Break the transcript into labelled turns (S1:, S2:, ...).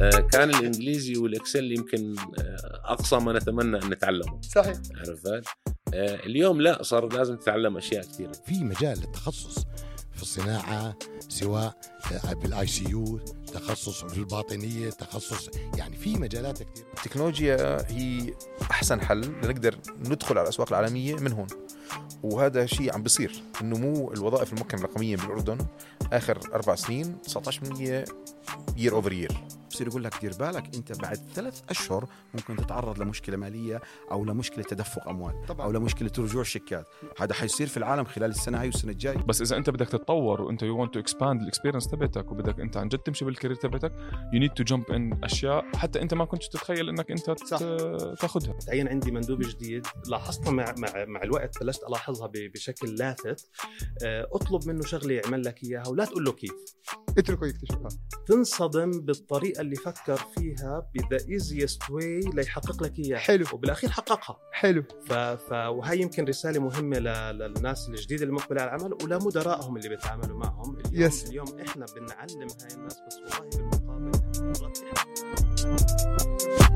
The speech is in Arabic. S1: آه، كان الانجليزي والاكسل يمكن اقصى ما نتمنى ان نتعلمه
S2: صحيح
S1: عرفت آه، اليوم لا صار لازم تتعلم اشياء كثيره
S3: في مجال للتخصص في الصناعه سواء بالاي سي يو تخصص في الباطنيه تخصص يعني في مجالات كثير
S2: التكنولوجيا هي احسن حل لنقدر ندخل على الاسواق العالميه من هون وهذا شيء عم بيصير النمو الوظائف المكن الرقميه بالاردن اخر اربع سنين 19% يير اوفر يير
S4: بصير يقول لك دير بالك انت بعد ثلاث اشهر ممكن تتعرض لمشكله ماليه او لمشكله تدفق اموال طبعا. او لمشكله رجوع شيكات هذا حيصير في العالم خلال السنه هاي والسنه الجايه
S5: بس اذا انت بدك تتطور وانت يو ونت تو اكسباند الاكسبيرينس تبعتك وبدك انت عن جد تمشي بالكارير تبعتك يو نيد تو جمب ان اشياء حتى انت ما كنت تتخيل انك انت صح. تاخذها
S6: تعين عندي مندوب جديد لاحظتها مع مع مع الوقت بلشت الاحظها بشكل لافت اطلب منه شغله يعمل لك اياها ولا تقول له كيف
S2: اتركه يكتشفها
S6: تنصدم بالطريقه اللي فكر فيها بذا ايزيست واي ليحقق لك اياها
S2: حلو.
S6: وبالاخير حققها
S2: حلو
S6: ف... ف... وهي يمكن رساله مهمه ل... للناس الجديده المقبله على العمل ولمدرائهم اللي بيتعاملوا معهم اليوم
S2: يس.
S6: اليوم احنا بنعلم هاي الناس بس والله بالمقابل مرات إحنا-